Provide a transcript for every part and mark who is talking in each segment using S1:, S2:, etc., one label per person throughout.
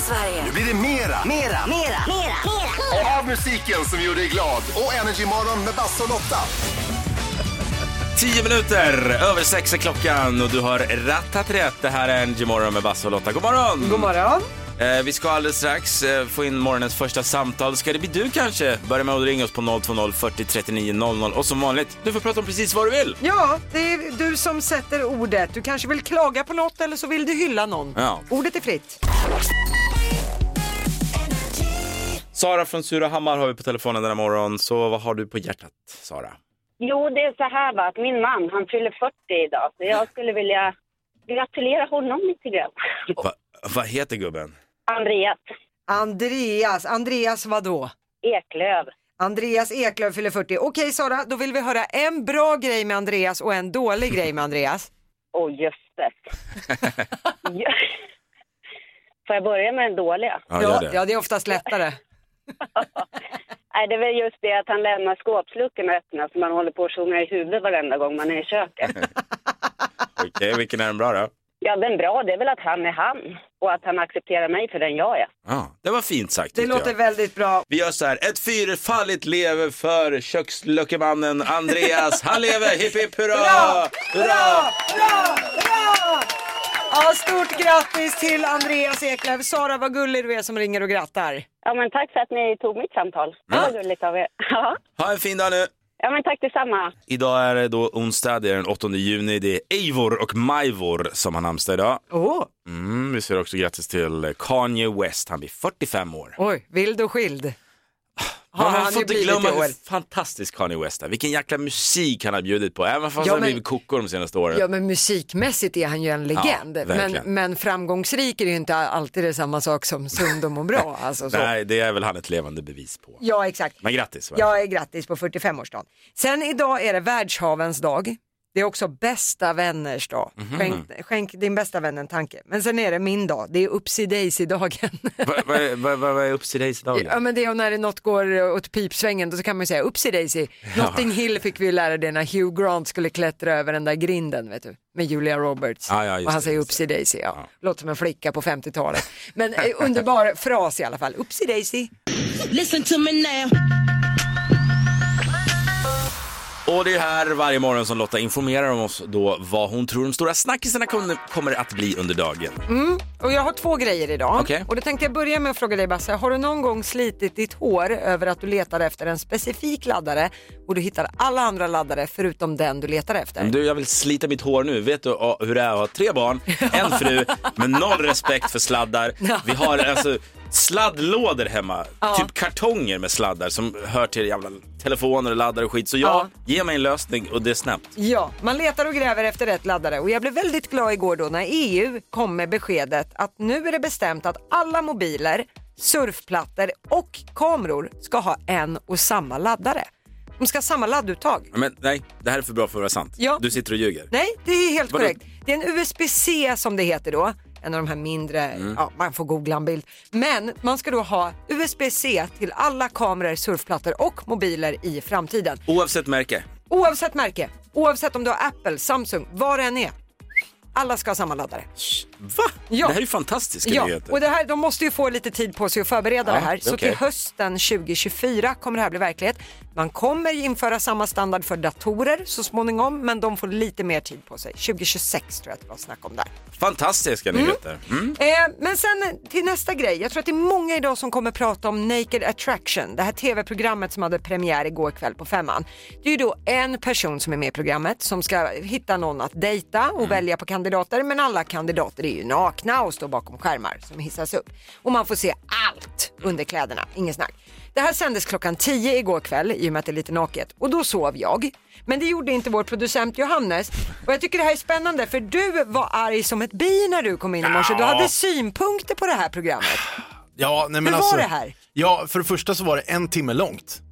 S1: Sverige.
S2: Nu blir det mera, mera,
S1: Mera, mera, mera.
S2: och av musiken som gjorde dig glad och Energymorgon med Basse och Lotta.
S3: 10 minuter över sex är klockan och du har rattat rätt. Det här är Energy Morgon med Basse och Lotta. God morgon!
S4: God morgon.
S3: Eh, vi ska alldeles strax eh, få in morgonens första samtal. Ska det bli du kanske? Börja med att ringa oss på 020 40 39 00 och som vanligt, du får prata om precis vad du vill.
S4: Ja, det är du som sätter ordet. Du kanske vill klaga på något eller så vill du hylla någon.
S3: Ja.
S4: Ordet är fritt.
S3: Sara från Surahammar har vi på telefonen den här morgonen. Så vad har du på hjärtat, Sara?
S5: Jo, det är så här va, att min man han fyller 40 idag så jag skulle vilja gratulera honom lite grann.
S3: Va, vad heter gubben?
S5: Andreas
S4: Andreas, Andreas vadå?
S5: Eklöv.
S4: Andreas Eklöf fyller 40. Okej Sara, då vill vi höra en bra grej med Andreas och en dålig grej med Andreas.
S5: Och jösses. Ja. Får jag börja med den dåliga?
S3: gör
S4: ja, det är oftast lättare.
S5: Nej, det är väl just det att han lämnar skåpsluckorna öppna så man håller på att sjunga i huvudet varenda gång man är i köket.
S3: Okej, vilken är den bra då?
S5: Ja, den bra det är väl att han är han och att han accepterar mig för den jag är.
S3: Ah, det var fint sagt
S4: Det
S3: tyckte
S4: låter
S3: jag.
S4: väldigt bra.
S3: Vi gör så här, ett fyrfaldigt leve för köksluckemannen Andreas. Han lever, hipp hipp hurra!
S4: Bra, bra, bra! Ja, stort grattis till Andreas Eklöf. Sara, vad gullig du är som ringer och grattar.
S5: Ja, men tack för att ni tog mitt samtal. Det var gulligt av er. Ja.
S3: Ha en fin dag nu!
S5: ja, men tack detsamma.
S3: Idag är det då onsdag, det är den 8 juni. Det är Eivor och Majvor som har namnsdag idag.
S4: Åh,
S3: Mm, vi säger också grattis till Kanye West, han blir 45 år.
S4: oj, vild och skild. Har
S3: Man
S4: han
S3: får
S4: ju
S3: inte
S4: blivit
S3: glömma
S4: i år.
S3: hur fantastisk Kanye West är. Vilken jäkla musik han har bjudit på, även fast
S4: Ja,
S3: han har
S4: men-
S3: blivit koko de senaste åren.
S4: Ja men musikmässigt är han ju en legend. men,
S3: verkligen.
S4: men framgångsrik är ju inte alltid det samma sak som sund och må bra. Alltså, så.
S3: Nej, det är väl han ett levande bevis på.
S4: Ja exakt.
S3: Men grattis! verkligen.
S4: Jag är grattis på 45-årsdagen. Sen idag är det världshavens dag. Det är också bästa vänners dag.
S3: Mhm.
S4: Skänk, skänk din bästa vän en tanke. Men sen är det min dag. Det är Upsi Daisy-dagen.
S3: Vad vad är vad- vad är Upsi Daisy-dagen?
S4: ja men det är när det något går åt pipsvängen då så kan man ju säga Upsi Daisy. Notting Hill fick vi ju lära det när Hugh Grant skulle klättra över den där grinden vet du. Med Julia Roberts.
S3: Ja, ja, just
S4: och han
S3: det,
S4: säger
S3: just
S4: Upsi Daisy. Ja. Låter som en flicka på 50-talet. Men eh, underbar fras i alla fall. Upsi Daisy.
S6: Listen to me now.
S3: Och det är här varje morgon som Lotta informerar om oss då vad hon tror de stora snackisarna kom- kommer att bli under dagen.
S4: Och jag har två grejer idag.
S3: Okej.
S4: Och då tänkte jag börja med att fråga dig Basse, har du någon gång slitit ditt hår över att du letar efter en specifik laddare och du hittar alla andra laddare förutom den du letar efter?
S3: Du, jag vill slita mitt hår nu. Vet du ah, hur det är att ha tre barn, en fru, med noll respekt för sladdar. Vi har alltså sladdlådor hemma, typ kartonger med sladdar som hör till jävla telefoner och laddare och skit. Så ja,
S4: Ja.
S3: ge mig en lösning och det är snabbt.
S4: Ja, man letar och gräver efter rätt laddare och jag blev väldigt glad igår då när EU kom med beskedet att nu är det bestämt att alla mobiler, surfplattor och kameror ska ha en och samma laddare. De ska ha samma ladduttag.
S3: Men nej, det här är för bra för att vara sant.
S4: Ja.
S3: Du sitter och ljuger.
S4: Nej, det är helt
S3: Vadå?
S4: korrekt. Det är en USB-C som det heter då. En av de här mindre, ja, man får googla en bild. Men man ska då ha USB-C till alla kameror, surfplattor och mobiler i framtiden.
S3: Oavsett märke.
S4: Oavsett märke, oavsett om du har Apple, Samsung, vad det än är. Alla ska ha samma laddare.
S3: Va?
S4: Ja.
S3: Det här är ju fantastiska
S4: Ja,
S3: nyheter.
S4: och det här, de måste ju få lite tid på sig att förbereda
S3: Ja,
S4: det här. Så
S3: okej.
S4: till hösten 2024 kommer det här bli verklighet. Man kommer införa samma standard för datorer så småningom, men de får lite mer tid på sig. 2026 tror jag att det var snack om där.
S3: Fantastiska nyheter. Mm.
S4: Eh, men sen till nästa grej. Jag tror att det är många idag som kommer prata om Naked Attraction. Det här tv-programmet som hade premiär igår kväll på Femman. Det är ju då en person som är med i programmet som ska hitta någon att dejta och välja på kandidater. Men alla kandidater är ju nakna och står bakom skärmar som hissas upp. Och man får se allt under kläderna, inget snack. Det här sändes klockan 10 igår kväll i och med att det är lite naket och då sov jag. Men det gjorde inte vår producent Johannes och jag tycker det här är spännande för du var arg som ett bi när du kom in i morse. Du hade synpunkter på det här programmet.
S7: Ja, nej, men
S4: Hur var
S7: alltså,
S4: det här?
S7: Ja, för det första så var det en timme långt.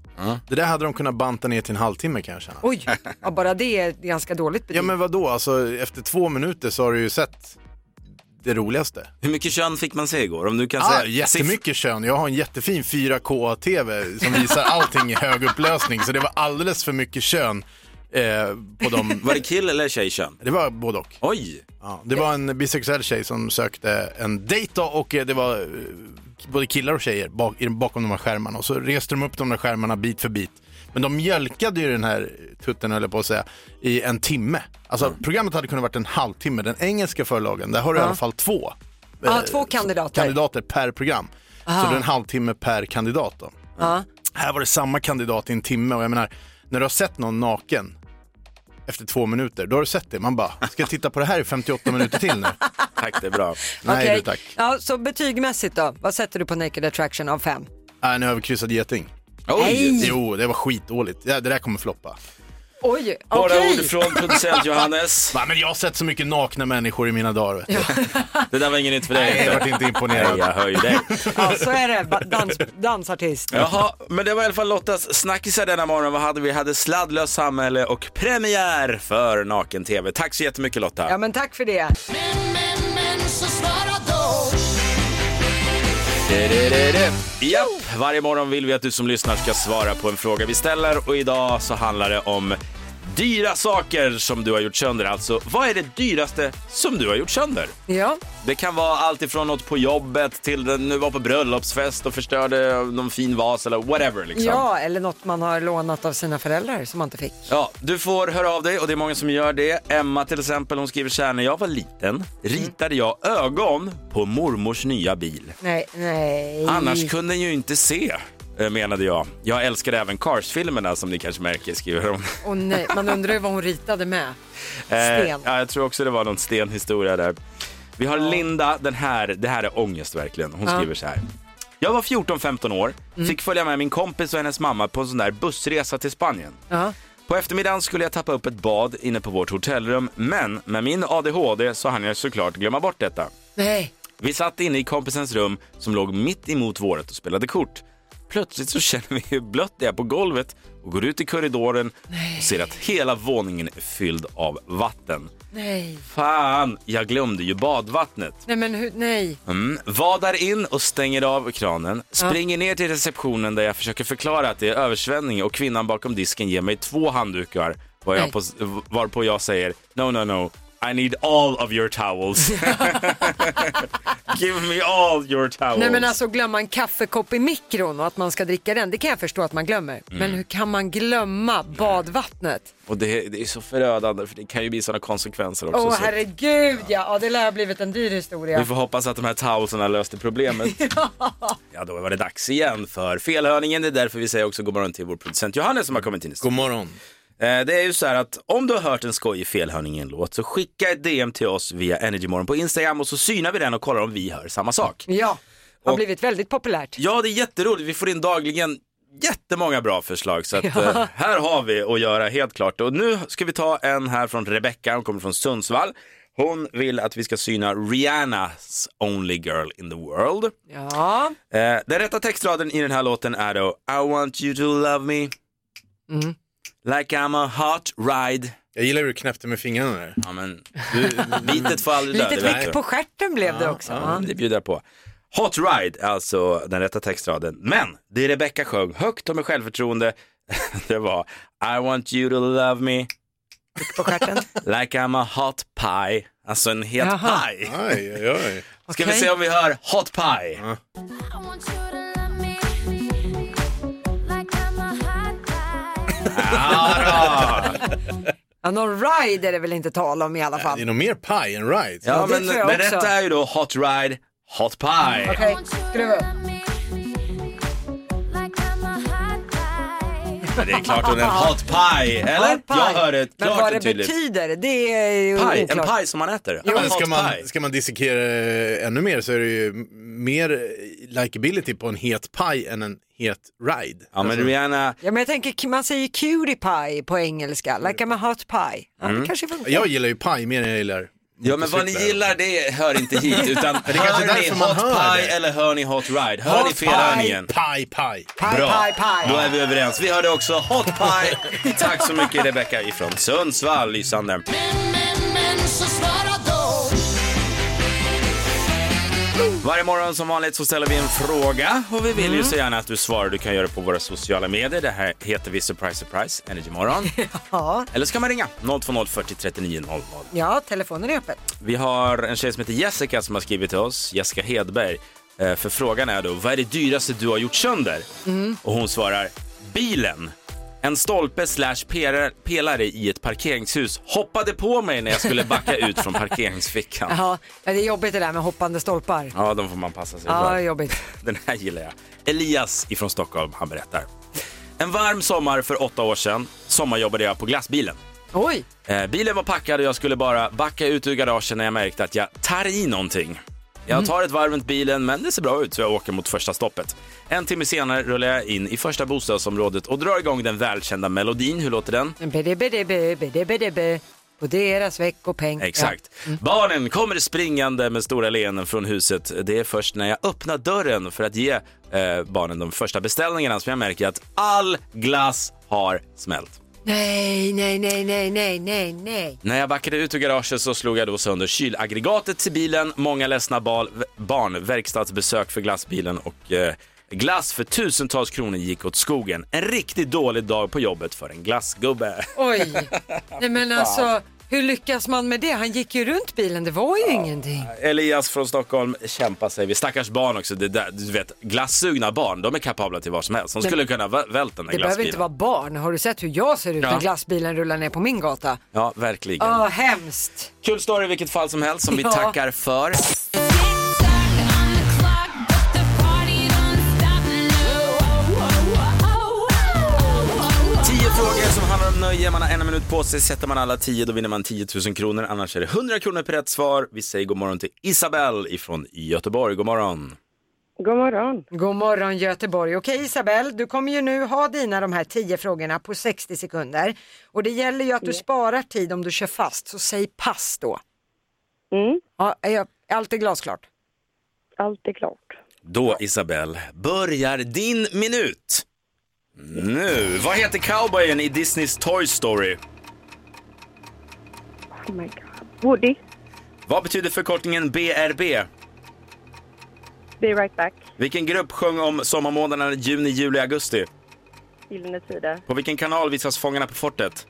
S7: Det där hade de kunnat banta ner till en halvtimme kanske.
S4: Oj, ja, bara det är ett ganska dåligt betyg.
S7: Ja, men vad då? Alltså, efter två minuter så har du ju sett det roligaste.
S3: Hur mycket kön fick man se igår? Om du kan
S7: Ah,
S3: säga
S7: jättemycket kön. Jag har en jättefin 4K-TV som visar allting i hög upplösning, så det var alldeles för mycket kön Eh, på dem.
S3: Var det kill eller tjejkön?
S7: Det var både och.
S3: Oj!
S7: Ja, det var en bisexuell tjej som sökte en dejt då, och eh, det var eh, både killar och tjejer bak, i- bakom de här skärmarna och så reste de upp de där skärmarna bit för bit. Men de mjölkade ju den här tutten, höll jag på att säga, i en timme. Alltså programmet hade kunnat varit en halvtimme. Den engelska förlagen, där har du i alla fall två.
S4: Ja,
S7: eh,
S4: Ah, två kandidater. Ah.
S7: kandidater per program. Så det är en halvtimme per kandidat då. Här var det samma kandidat i en timme och jag menar, när du har sett någon naken efter två minuter, då har du sett det. Man bara, ska jag titta på det här i 58 minuter till nu?
S3: Tack, det är bra.
S7: Nej
S4: Okej.
S7: du tack.
S4: Ja, så betygmässigt då, vad sätter du på Naked Attraction av fem?
S7: Nej, en överkryssad geting.
S3: Oj!
S7: Jo, det var skitdåligt. Ja, det där kommer floppa.
S4: Oj,
S3: Bara
S4: okej.
S3: ord från producent Johannes.
S7: Va, men jag har sett så mycket nakna människor i mina dagar. Vet du.
S3: Det där var ingen nytt för dig.
S7: Nej, jag
S3: Peter.
S7: vart inte
S3: Nej,
S7: imponerad.
S3: jag hör ju dig.
S4: Ja, så är det, Ba- dans, dansartist.
S3: Jaha, men det var i alla fall Lottas snackisar denna morgon. Vad hade vi? Vi hade sladdlöst samhälle och premiär för Naken-TV. Tack så jättemycket Lotta.
S4: Ja men tack för det.
S3: Japp, varje morgon vill vi att du som lyssnar ska svara på en fråga vi ställer och idag så handlar det om dyra saker som du har gjort sönder. Alltså, vad är det dyraste som du har gjort sönder?
S4: Ja,
S3: Det kan vara allt ifrån något på jobbet till den nu var på bröllopsfest och förstörde någon fin vas eller whatever liksom.
S4: ja eller något man har lånat av sina föräldrar som man inte fick.
S3: Ja, du får höra av dig och det är många som gör det. Emma till exempel, hon skriver så här, när jag var liten ritade jag ögon på mormors nya bil.
S4: Nej, nej.
S3: Annars kunde den ju inte se, eh, menade jag. Jag älskade även Cars-filmerna som ni kanske märker, skriver hon.
S4: Åh, nej. Man undrar ju vad hon ritade med.
S3: Eh,
S4: Sten.
S3: ja, jag tror också det var någon stenhistoria där. Vi har Linda, den här, det här är ångest verkligen. Hon skriver så här. Jag var 14-15 år,
S4: Mm.
S3: fick följa med min kompis och hennes mamma på en sån där bussresa till Spanien.
S4: Ja.
S3: På eftermiddagen skulle jag tappa upp ett bad inne på vårt hotellrum, men med min ADHD så hann jag såklart glömma bort detta.
S4: Nej.
S3: Vi satt inne i kompisens rum som låg mitt emot våret och spelade kort. Plötsligt så känner vi hur blött det är på golvet och går ut i korridoren och ser att hela våningen är fylld av vatten.
S4: Nej.
S3: Fan, jag glömde ju badvattnet.
S4: Nej men hur, nej.
S3: Mm. Vadar in och stänger av kranen, springer ner till receptionen där jag försöker förklara att det är översvämning och kvinnan bakom disken ger mig två handdukar var jag
S4: Nej.
S3: på, varpå jag säger no, no, no, I need all of your towels. Give me all your towels.
S4: Nej men alltså glömma en kaffekopp i mikron och att man ska dricka den, det kan jag förstå att man glömmer.
S3: Mm.
S4: Men hur kan man glömma badvattnet?
S3: Och det, det är så förödande för det kan ju bli sådana konsekvenser också.
S4: Åh
S3: så
S4: herregud ja. ja, det lär ha blivit en dyr historia.
S3: vi får hoppas att de här towelsen löste problemet. ja, då var det dags igen för felhörningen. Det är därför vi säger också god morgon till vår producent Johannes som har kommit in i studion.
S7: God morgon.
S3: Eh, Det är ju så här att om du har hört en skojig felhörning i en låt så skicka ett DM till oss via Energymorgon på Instagram och så synar vi den och kollar om vi hör samma sak.
S4: Ja, har
S3: Och-
S4: blivit väldigt populärt.
S3: Ja, det är jätteroligt. Vi får in dagligen jättemånga bra förslag så att, eh, här har vi att göra helt klart. Och nu ska vi ta en här från Rebecca, hon kommer från Sundsvall. Hon vill att vi ska syna Rihannas Only Girl in the World.
S4: Ja,
S3: Eh, den rätta textraden i den här låten är då I want you to love me like I'm a hot ride.
S7: Jag gillar hur du knäppte med fingrarna där.
S3: Ja, men, du, bitet får aldrig dö.
S4: litet
S3: det vet du.
S4: vick på stjärten blev det också.
S3: Ja,
S4: Ja.
S3: det bjuder jag på. Hot Ride, alltså den rätta textraden. Men det Rebecca sjöng högt och med självförtroende, det var I want you to love me
S4: På stjärten.
S3: like I'm a hot pie. Alltså en het
S4: Jaha.
S3: pie.
S7: Aj, aj, aj.
S3: Ska vi
S4: Okej.
S3: se om vi hör Hot Pie? Ja, då.
S4: Ja, någon ride är det väl inte tal om i alla
S7: Det
S4: fall.
S7: är nog mer pie än ride.
S3: ja
S4: det
S3: men
S4: tror jag
S3: den
S4: också.
S3: rätta är ju då Hot Ride, Hot Pie.
S4: Okej, skruva upp.
S3: Men Det är klart hon är en hot pie, eller?
S4: Hot pie.
S3: Jag hör det
S4: Men
S3: klart
S4: vad det
S3: och tydligt.
S4: betyder, det är ju
S3: Paj, en
S4: oklart.
S3: paj som man äter.
S7: Ja,
S3: en
S7: men ska,
S3: hot
S7: man,
S3: pie.
S7: ska man dissekera eh, ännu mer så är det ju m- mer eh, likability på en het paj än en het ride. Alltså,
S3: Ja men Rihanna,
S4: Ja, men jag tänker, man säger cutie pie på engelska, like I'm a hot pie. Ja,
S3: Mm.
S4: det kanske funkar.
S7: Jag gillar ju paj mer än jag gillar
S3: ja men vad ni
S7: motorcyklar.
S3: gillar det hör inte hit utan
S7: kanske är
S3: hör ni
S7: därför man
S3: hot
S7: hör
S3: pie
S7: det.
S3: eller hör ni hot ride? Hör ni
S7: Hot
S3: felhörningen?
S7: pie, pie, pie.
S4: Pie,
S3: Bra,
S4: pie, pie.
S3: då är vi överens. Vi hörde också hot pie. Tack så mycket Rebecca ifrån Sundsvall, lysande. Varje morgon som vanligt så ställer vi en fråga och vi vill
S7: Mm.
S3: ju så gärna att du svarar. Du kan göra det på våra sociala medier. Det här heter vi Surprise Surprise Energy Morgon.
S4: Ja,
S3: Eller så kan man ringa 020 40 39 00.
S4: ja telefonen är öppen.
S3: Vi har en tjej som heter Jessica som har skrivit till oss, Jessica Hedberg. Eh, För frågan är då, vad är det dyraste du har gjort sönder?
S4: Mm.
S3: Och hon svarar, bilen. En stolpe slash pelare- pelare i ett parkeringshus hoppade på mig när jag skulle backa ut från parkeringsfickan.
S4: Ja, det är jobbigt det där med hoppande stolpar.
S3: Ja, de får man passa sig
S4: Ja,
S3: för.
S4: jobbigt.
S3: Den här gillar jag. Elias ifrån Stockholm, han berättar. En varm sommar för åtta år sedan sommarjobbade jag på glassbilen.
S4: Oj,
S3: Eh, bilen var packad och jag skulle bara backa ut ur garagen när jag märkte att jag tar i någonting. Jag tar ett varv runt bilen, men det ser bra ut så jag åker mot första stoppet. En timme senare rullar jag in i första bostadsområdet och drar igång den välkända melodin. Hur låter den?
S4: bidi bidi bi, bidi bidi bi. på deras veckopeng.
S3: Exakt. Barnen kommer springande med stora leenden från huset. Det är först när jag öppnar dörren för att ge eh, barnen de första beställningarna som jag märker att all glass har smält.
S4: Ja. Nej, nej, nej, nej, nej, nej, nej.
S3: När jag backade ut ur garaget så slog jag då sönder kylaggregatet till bilen, många ledsna bal- barn, verkstadsbesök för glassbilen och eh, glass för tusentals kronor gick åt skogen. En riktigt dålig dag på jobbet för en glassgubbe.
S4: Oj, nej men alltså. Hur lyckas man med det? Han gick ju runt bilen, det var ju ingenting.
S3: Elias från Stockholm kämpar sig vid. Stackars barn också. Det där, du vet, glassugna barn, de är kapabla till vad som helst. De skulle kunna vä- välta den där
S4: Det behöver inte
S3: glassbilen.
S4: vara barn. Har du sett hur jag ser ut
S3: Ja.
S4: när glassbilen rullar ner på min gata?
S3: Ja, verkligen.
S4: Ja, hemskt.
S3: Kul story i vilket fall som helst som vi
S4: Ja.
S3: tackar för. Tio frågor som handlar om nöje. Man har en minut på sig. Sätter man alla tio då vinner man 10 000 kronor. Annars är det 100 kronor per rätt svar. Vi säger god morgon till Isabelle ifrån Göteborg. God morgon.
S5: God morgon.
S4: God morgon Göteborg. Okej Isabel, du kommer ju nu ha dina de här tio frågorna på 60 sekunder. Och det gäller ju att du sparar tid om du kör fast, så säg pass då.
S5: Mm,
S4: Ja, är jag- är allt är glasklart.
S5: allt är klart.
S3: Då Isabelle börjar din minut. Nu. Vad heter cowboyen i Disneys Toy Story?
S5: Oh my god. Woody,
S3: Vad betyder förkortningen BRB?
S5: be right back.
S3: Vilken grupp sjöng om sommarmånaderna juni, juli, augusti?
S5: Gyllene Tider,
S3: På vilken kanal visas Fångarna på fortet?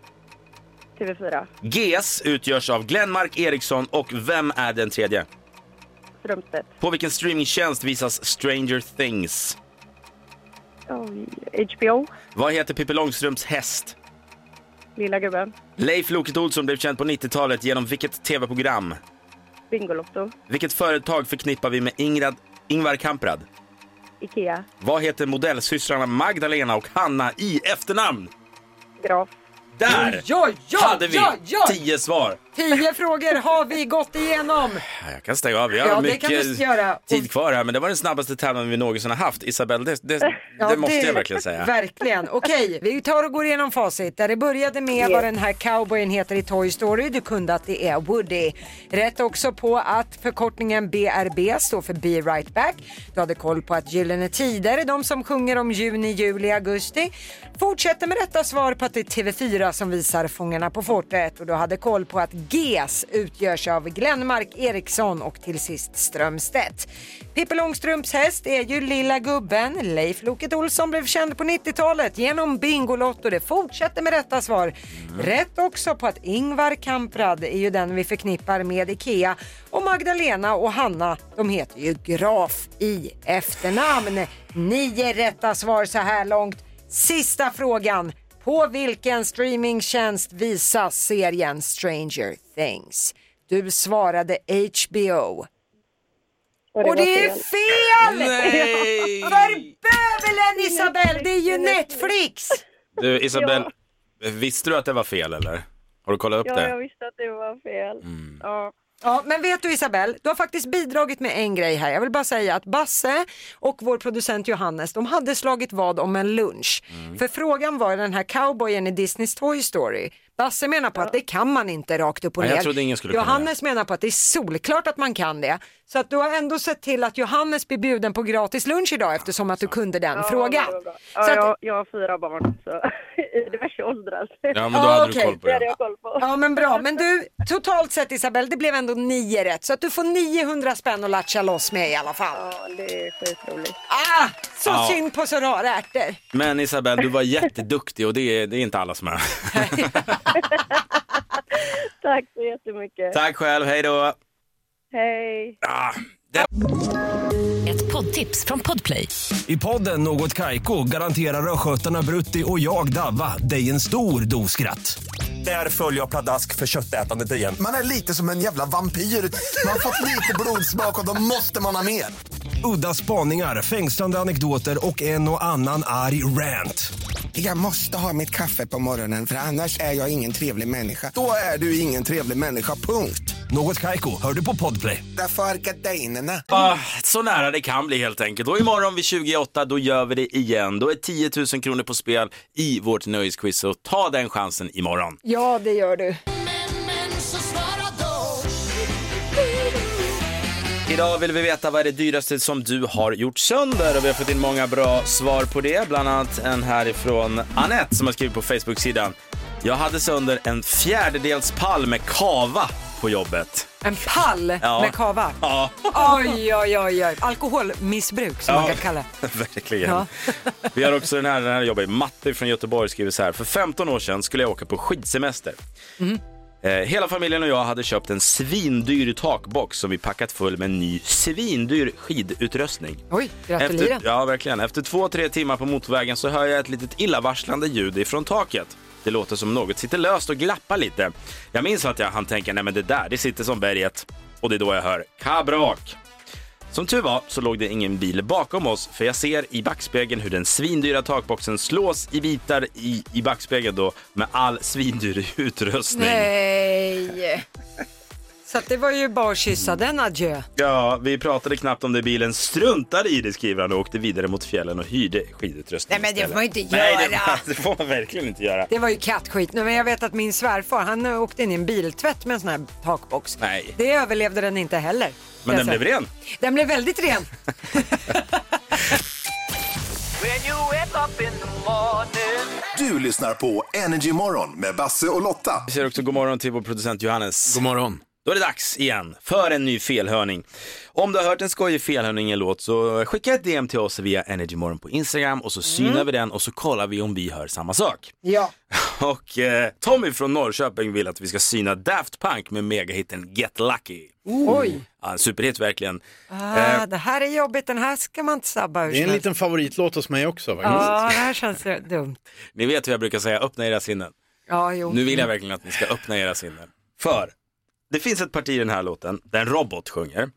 S5: TV4,
S3: GS utgörs av Glenmark, Eriksson och vem är den tredje?
S5: Strömstedt,
S3: På vilken streamingtjänst visas Stranger Things?
S5: Oj, HBO,
S3: Vad heter Pippi Långstrumps häst?
S5: Lilla gubben,
S3: Leif Loket Olsson blev känd på 90-talet genom vilket tv-program?
S5: Bingolotto,
S3: Vilket företag förknippar vi med Ingrad, Ingvar Kamprad?
S5: Ikea,
S3: Vad heter modellsystrarna Magdalena och Hanna i efternamn?
S5: Graf.
S3: Där
S4: Ja, ja,
S3: hade vi
S4: ja, ja.
S3: tio svar.
S4: Tio frågor har vi gått igenom.
S3: Ja, Jag kan stänga av. Vi har
S4: Ja, det kan
S3: mycket
S4: du göra.
S3: tid kvar här, men det var den snabbaste tävlingen vi någonsin har haft. Isabelle, det, det,
S4: Ja,
S3: det måste jag verkligen säga.
S4: Verkligen. Okej, vi tar och går igenom facit. Där det började med vad den här cowboyen heter i Toy Story. Du kunde att det är Woody. Rätt också på att förkortningen BRB står för Be Right Back. Du hade koll på att Gyllene Tider är de som sjunger om juni, juli, augusti. Fortsätter med rätta svar på att det är TV4 som visar Fångarna på fortet och du hade koll på att GES utgörs av Glenmark, Eriksson och till sist Strömstedt. Pippi Långstrumps häst är ju Lilla gubben. Leif Loket Olsson blev känd på 90-talet genom Bingolotto. Det fortsätter med rätta svar. Rätt också på att Ingvar Kamprad är ju den vi förknippar med Ikea och Magdalena och Hanna, de heter ju Graf i efternamn. Nio rätta svar så här långt. Sista frågan. På vilken streamingtjänst visas serien Stranger Things? Du svarade HBO. Och det är fel!
S3: Nej!
S4: För bövelen Isabel, det är ju Netflix!
S3: Du, Isabelle, visste du att det var fel eller? Har du kollat upp
S5: Ja,
S3: det?
S5: jag visste att det var fel.
S3: Mm.
S5: Ja.
S4: Ja, men vet du Isabel, du har faktiskt bidragit med en grej här. Jag vill bara säga att Basse och vår producent Johannes, de
S3: Mm.
S4: hade slagit vad om en lunch. För frågan var den här cowboyen i Disneys Toy Story. Basse menar på att det kan man inte rakt upp och
S3: Nej,
S4: ner.
S3: jag trodde ingen skulle kunna
S4: Johannes menar på att det är solklart att man kan det. Så att du har ändå sett till att Johannes blir bjuden på gratis lunch idag eftersom att du kunde den frågan.
S1: Ja,
S4: Så att-
S1: jag, jag har fyra barn så, i diverse åldrar. Så
S3: Ja, men då
S4: Ja,
S3: hade
S4: okej.
S3: du koll på
S1: det hade
S3: det.
S1: jag koll på.
S4: Ja men bra, men du totalt sett Isabelle, det blev ändå nio rätt så att du får 900 spänn att latcha loss med i alla fall.
S1: Ja, det är skitroligt.
S4: Ah, så
S3: Ja.
S4: synd på så rara ärtor.
S3: Men Isabel, du var jätteduktig och det är, det är inte alla som är.
S1: Tack så jättemycket.
S3: Tack själv, hej då.
S1: Hej.
S3: Ah,
S8: Ett poddtips från Podplay.
S9: I podden Något Kaiko garanterar östgötarna Brutti och jag, Davva, dig en stor dos skratt. Där följer jag pladask för köttätandet igen.
S10: Man är lite som en jävla vampyr. Man har fått lite blodsmak och då måste man ha mer.
S9: Udda spaningar, fängslande anekdoter och en och annan arg rant.
S10: Jag måste ha mitt kaffe på morgonen för annars är jag ingen trevlig människa. Då är du ingen trevlig människa, punkt.
S9: Något Kaiko, hör du på Podplay.
S10: Därför är gardinerna.
S3: ah, så nära det kan bli helt enkelt. Och imorgon vid 28, då gör vi det igen. Då är 10 000 kronor på spel i vårt nöjesquiz. Så ta den chansen imorgon.
S4: Ja det gör du.
S3: Idag vill vi veta vad är det dyraste som du har gjort sönder och vi har fått in många bra svar på det. Bland annat en härifrån Annette som har skrivit på Facebook-sidan. Jag hade sönder en fjärdedels pall med kava på jobbet.
S4: En pall
S3: Ja.
S4: med kava.
S3: Ja,
S4: Oj, oj, oj, oj. Alkoholmissbruk som
S3: Ja.
S4: man kan kalla det.
S3: verkligen.
S4: Ja.
S3: Vi har också den här, den här jobbar i Matte från Göteborg skriver så här. För 15 år sedan skulle jag åka på skidsemester.
S4: Mm.
S3: Eh, hela familjen och jag hade köpt en svindyr takbox som vi packat full med ny svindyr skidutrustning.
S4: Oj, gratulerar.
S3: Efter, ja, verkligen. Efter två, tre timmar på motorvägen så hör jag ett litet illavarslande ljud ifrån taket. Det låter som något sitter löst och glappar lite. Jag minns att jag hann tänka, nej men det där, det sitter som berget. Och det är då jag hör kabrak. Som tur var så låg det ingen bil bakom oss, för jag ser i backspegeln hur den svindyra takboxen slås i bitar i, i backspegeln då med all svindyr utrustning.
S4: Nej. Så att det var ju bara att kyssa den adjö.
S3: Ja, vi pratade knappt om det. Bilen struntade i det, skriver han och åkte vidare mot fjällen och hyrde skidutrustning
S4: Nej, men det
S3: istället.
S4: får man inte
S3: Nej,
S4: göra.
S3: det, det får man verkligen inte göra.
S4: Det var ju kattskit. Nej, Men jag vet att min svärfar han eh, åkte in i en biltvätt med en sån här takbox.
S3: Nej.
S4: Det överlevde den inte heller.
S3: Men den
S4: Alltså,
S3: blev ren.
S4: Den blev väldigt ren.
S2: Du lyssnar på Energy Morgon med Basse och Lotta.
S3: Vi säger också god morgon till vår producent Johannes.
S7: God morgon.
S3: Då är det dags igen för en ny felhörning. Om du har hört en skojig felhörning i en låt så skicka ett DM till oss via Energymorgon på Instagram och så synar vi den och så kollar vi om vi hör samma sak.
S4: Mm. Ja.
S3: Och eh, Tommy från Norrköping vill att vi ska syna Daft Punk med megahitten Get Lucky.
S4: Oj.
S3: Ja, en superhit verkligen. Eh,
S4: Ah, det här är jobbigt. Den här ska man inte sabba ur
S7: Det är en
S4: sig.
S7: liten favoritlåt hos mig också. faktiskt.
S4: Ja,
S3: Mm.
S4: det här känns ju dumt.
S3: Ni vet hur jag brukar säga, öppna era sinnen.
S4: Ja, jo.
S3: Nu vill jag verkligen att ni ska öppna era sinnen. För det finns ett parti i den här låten där en robot sjunger.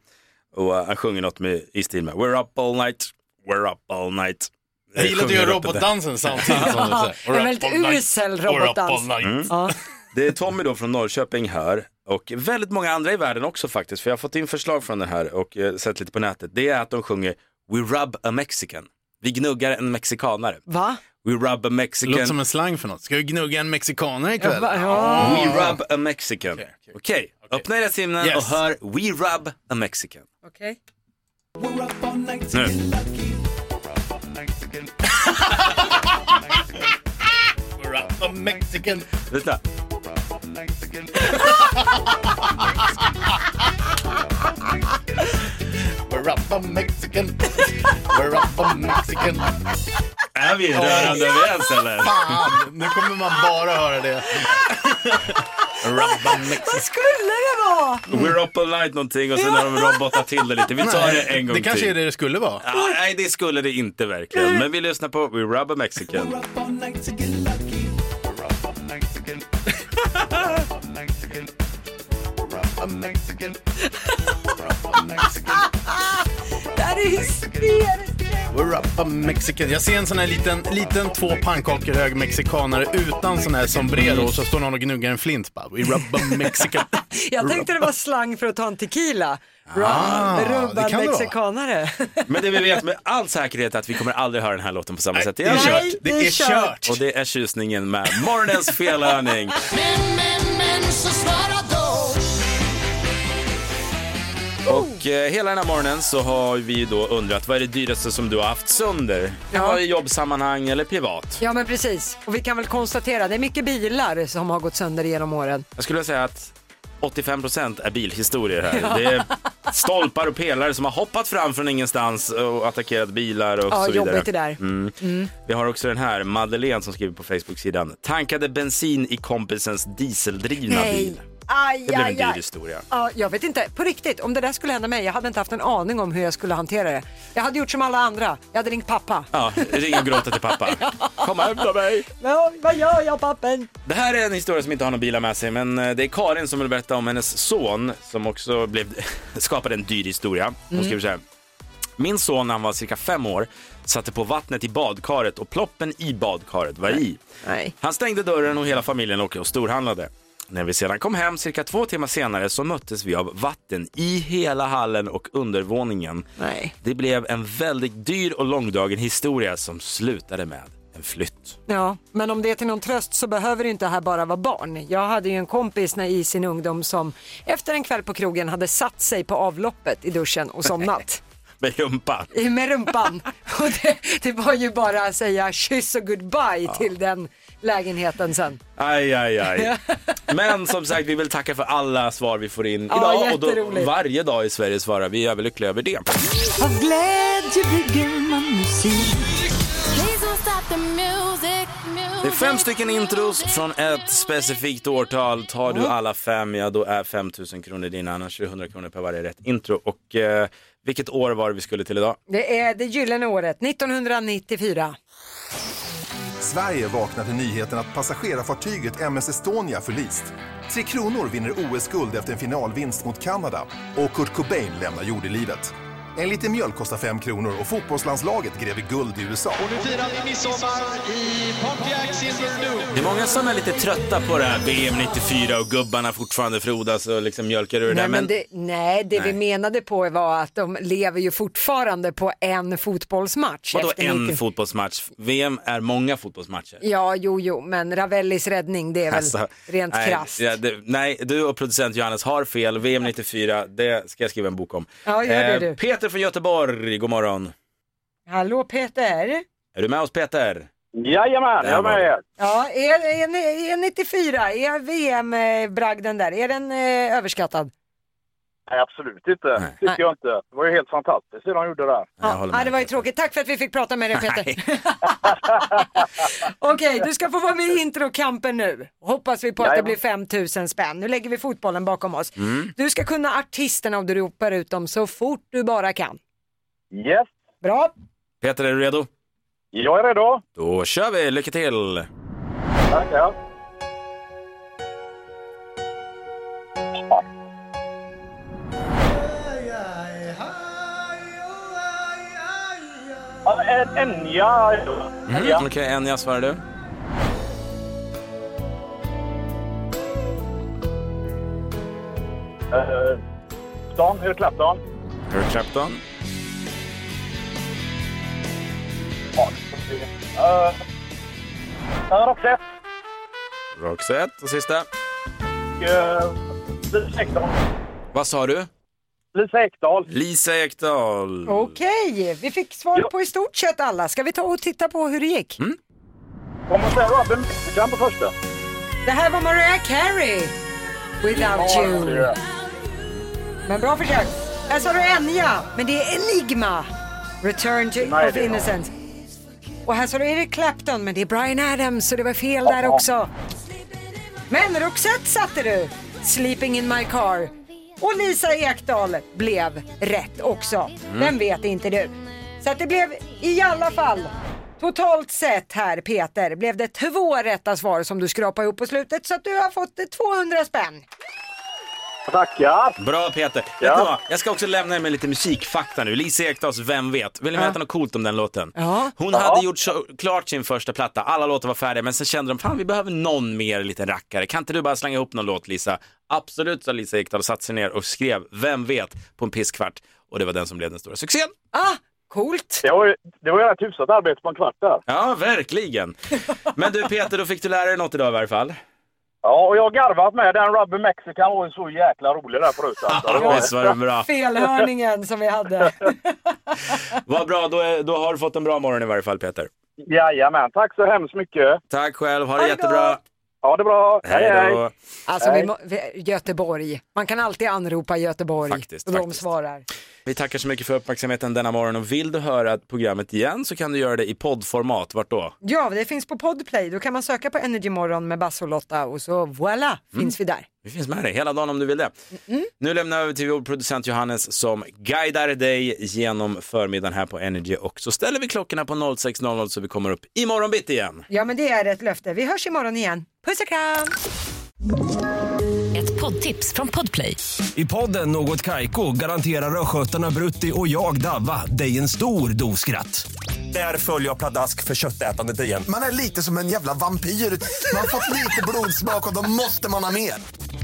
S3: Och eh, han sjunger något med, i stil med We're up all night, we're up all night.
S7: Jag gillar att du
S3: Sjunger
S7: gör
S3: upp det där.
S7: robotdansen samtidigt som du säger.
S4: En väldigt usel robotdans.
S7: Mm.
S4: Ja.
S3: Det är Tommy då från Norrköping hör och väldigt många andra i världen också faktiskt. För jag har fått in förslag från den här och eh, sett lite på nätet. Det är att de sjunger We rub a mexican. Vi gnuggar en mexikanare.
S4: Va?
S3: We rub a
S7: Det låter som
S3: mexican.
S7: en slang för något. Ska vi gnugga en mexikanare ikväll?
S4: Va- Ja.
S3: We rub a mexican. Okej,
S7: okej.
S3: öppna era sinnen
S7: Yes.
S3: och hör We rub a mexican.
S4: Okej.
S3: Nu.
S7: A mexican.
S3: Lyssna.
S7: We're up a mexican. We're up a mexican.
S3: Är vi rörande överens eller?
S7: Fan, nu kommer man bara höra det. We're up a mexican.
S4: Vad skulle det vara?
S3: Mm. We're up all night någonting och sen har de robotat till det lite. Vi tar det en gång
S7: Det kanske
S3: till.
S7: är det det skulle vara.
S3: Ah, nej, det skulle det inte verkligen. Men vi lyssnar på We Rub a Mexican.
S4: Det här är hysteriskt.
S7: We're up a mexican. Jag ser en sån här liten, liten två pannkakor hög mexikanare utan sån här sombrero och så står någon och gnuggar en flint. Bara, We're up a mexican.
S4: Jag tänkte det var slang för att ta en tequila. Rum,
S3: Ah, det
S4: rubbad
S3: kan det vara.
S4: mexikanare.
S3: Men det vi vet med all säkerhet är att vi kommer aldrig höra den här låten på samma sätt
S4: det är
S3: igen.
S4: kört. Det är kört.
S3: Och det är tjusningen med morgonens felhörning.
S6: Men, men, men så svara då.
S3: Och eh, hela den här morgonen så har vi ju då undrat vad är det dyraste som du har haft sönder? Det var i jobbsammanhang eller privat?
S4: Ja men precis, och vi kan väl konstatera det är mycket bilar som har gått sönder genom åren.
S3: Jag skulle säga att 85 procent är bilhistorier här. Det är stolpar och pelare som har hoppat fram från ingenstans och attackerat bilar och
S4: Ja,
S3: så vidare.
S4: jobbigt det där.
S3: Mm. Vi har också den här, Madeleine som skriver på Facebook-sidan. Tankade bensin i kompisens dieseldrivna bil.
S4: Aj,
S3: Det blev en
S4: aj,
S3: dyr
S4: aj.
S3: historia.
S4: Ja, jag vet inte, på riktigt, om det där skulle hända mig, jag hade inte haft en aning om hur jag skulle hantera det. Jag hade gjort som alla andra, jag hade ringt pappa.
S3: Ja, ring och gråta till pappa. Kom och hämta mig.
S4: Ja, vad gör jag pappen?
S3: Det här är en historia som inte har några bilar med sig, men eh, det är Karin som vill berätta om hennes son som också blev, skapade en dyr historia. Hon
S11: Mm.
S3: skriver så här. Min son när han var cirka fem år satte på vattnet i badkaret och ploppen i badkaret var i. Han stängde dörren och hela familjen åkte och storhandlade. När vi sedan kom hem cirka två timmar senare så möttes vi av vatten i hela hallen och undervåningen. Det blev en väldigt dyr och långdragen historia som slutade med en flytt.
S4: Ja, men om det är till någon tröst så behöver det inte här bara vara barn. Jag hade ju en kompis när, i sin ungdom som efter en kväll på krogen hade satt sig på avloppet i duschen och somnat.
S3: Med rumpan.
S4: I- Med rumpan. Och det, det var ju bara att säga kyss och goodbye till den lägenheten sen.
S3: Aj, aj, aj. Men som sagt, vi vill tacka för alla svar vi får in
S4: Ja,
S3: idag. och då,
S4: jätteroligt.
S3: varje dag i Sverige svarar vi är överlyckliga över det.
S6: Av glädje bygger man musik.
S3: Det är fem stycken intros från ett specifikt årtal. Tar
S4: Mm.
S3: du alla fem, ja då är 5 000 kronor dina. Annars är det 100 kronor per varje rätt intro. Och eh, vilket år var det vi skulle till idag?
S4: Det är det gyllene året, 1994.
S2: Sverige vaknar till nyheten att passagerarfartyget MS Estonia förlist. Tre Kronor vinner OS-guld efter en finalvinst mot Kanada och Kurt Cobain lämnar jordelivet. En liter mjölk kostar 5 kronor och fotbollslandslaget gräver guld i USA.
S12: Firar vi midsommar i Pontiac Silverdome.
S3: Det är många som är lite trötta på det här VM 94 och gubbarna fortfarande frodas och liksom mjölkar ur det
S4: Nej,
S3: där.
S4: men det, nej, det
S3: Nej.
S4: vi menade på var att de lever ju fortfarande på en fotbollsmatch.
S3: Vadå
S4: efter
S3: en
S4: 90
S3: fotbollsmatch? VM är många fotbollsmatcher.
S4: Ja, jo, jo, men Ravellis räddning, det är väl
S3: Alltså,
S4: rent
S3: nej,
S4: krasst.
S3: ja, det, nej, du och producent Johannes har fel. VM 94, det ska jag skriva en bok om. Eh,
S4: Ja, gör det, du.
S3: Peter från Göteborg, god morgon.
S4: Hallå Peter!
S3: Är du med oss Peter?
S13: Jajamän,
S3: jag är med er.
S4: Ja, är, är, ni- är 94, är VM-bragden där, är den eh, överskattad?
S13: Nej, absolut inte. Tycker
S4: Nej.
S13: jag inte. Det var ju helt fantastiskt det de gjorde där.
S4: Ja, det var ju tråkigt. Tack för att vi fick prata med dig Peter. Okej, du ska få vara med i introkampen nu. Hoppas vi på att det blir 5000 spänn. Nu lägger vi fotbollen bakom oss.
S6: Mm.
S4: Du ska kunna artisterna och du ropar ut dem så fort du bara kan.
S13: Yes.
S4: Bra.
S3: Peter, är du redo?
S13: Jag är redo.
S3: Då kör vi, lycka till!
S4: Mm.
S13: Tackar. Ja, en- Enja.
S3: Mm, Okej, Enya svarar du.
S13: Eh, Dan, hur Clapton.
S3: Eric Clapton.
S13: Eh, eh, Roxette.
S3: Roxette. Och sista.
S13: eh, Lisa Ekdahl.
S3: Vad sa du?
S13: Lisa Ekdahl.
S3: Lisa Ekdahl.
S4: Oh. Okej, vi fick svar på i stort sett alla. Ska vi ta och titta på hur det gick?
S13: Får man säga Robin Mexican på första?
S4: Det här var Mariah Carey, Without You. Men bra försök. Här sa du Enya, men det är Enigma. Return to of
S6: det är
S4: Innocence. Och här sa du Eric Clapton, men det är Brian Adams så det var fel där också. Men Roxette satte du, Sleeping in my car. Och Lisa Ekdahl blev rätt också.
S6: Mm.
S4: Vem vet inte du. Så att det blev i alla fall Totalt sett här Peter blev det två rätta svar som du skrapade ihop på slutet så att du har fått eh, 200 spänn.
S13: Tackar!
S3: Bra Peter. Vet ni vad? Jag ska också lämna er med lite musikfakta nu. Lisa Ekdahls Vem vet? Vill ni veta något coolt om den låten?
S4: Ja.
S3: Hon
S4: Ja.
S3: hade gjort så, klart sin första platta, alla låtar var färdiga, men sen kände de fan vi behöver någon mer liten rackare. Kan inte du bara slänga ihop någon låt Lisa? Absolut sa Lisa Ekdahl och satte sig ner och skrev Vem vet? på en pisskvart. Och det var den som blev den stora succén.
S4: Ah, coolt!
S13: Det var ju det var ju rätt hyfsat arbete på en kvart där.
S3: Ja, verkligen. Men du Peter, då fick du lära dig något idag i varje fall.
S13: Ja, och jag har garvat med den Rubber Mexican var ju så jäkla rolig där förut. Alltså.
S3: Ja, visst var det bra.
S4: Felhörningen som vi hade.
S3: Vad bra, då, är, då har du fått en bra morgon i varje fall Peter.
S13: Jajamän, tack så hemskt mycket.
S3: Tack själv, ha det jättebra.
S13: Ha det bra. Hej,
S3: Hej då.
S13: hej.
S4: Alltså,
S13: Hej.
S4: vi må, vi, Göteborg. Man kan alltid anropa Göteborg.
S3: Faktiskt,
S4: och de
S3: faktiskt.
S4: svarar.
S3: Vi tackar så mycket för uppmärksamheten denna morgon och vill du höra programmet igen så kan du göra det i poddformat. Vart då?
S4: Ja, det finns på Podplay. Då kan man söka på Energy Morgon med Basse och Lotta och så voilà,
S3: Mm.
S4: finns vi där.
S3: Vi finns med dig hela dagen om du vill det. Nu lämnar jag över till vår producent Johannes som guidar dig genom förmiddagen här på Energy och så ställer vi klockorna på 06.00 så vi kommer upp imorgon bitti igen.
S4: Ja, men det är ett löfte. Vi hörs imorgon igen. Puss och kram!
S8: Ett poddtips från Podplay.
S9: I podden Något Kaiko garanterar östgötarna Brutti och jag, Davva, dig en stor dos skratt. Där följer jag pladask för köttätandet igen.
S10: Man är lite som en jävla vampyr. Man har fått lite blodsmak och då måste man ha mer.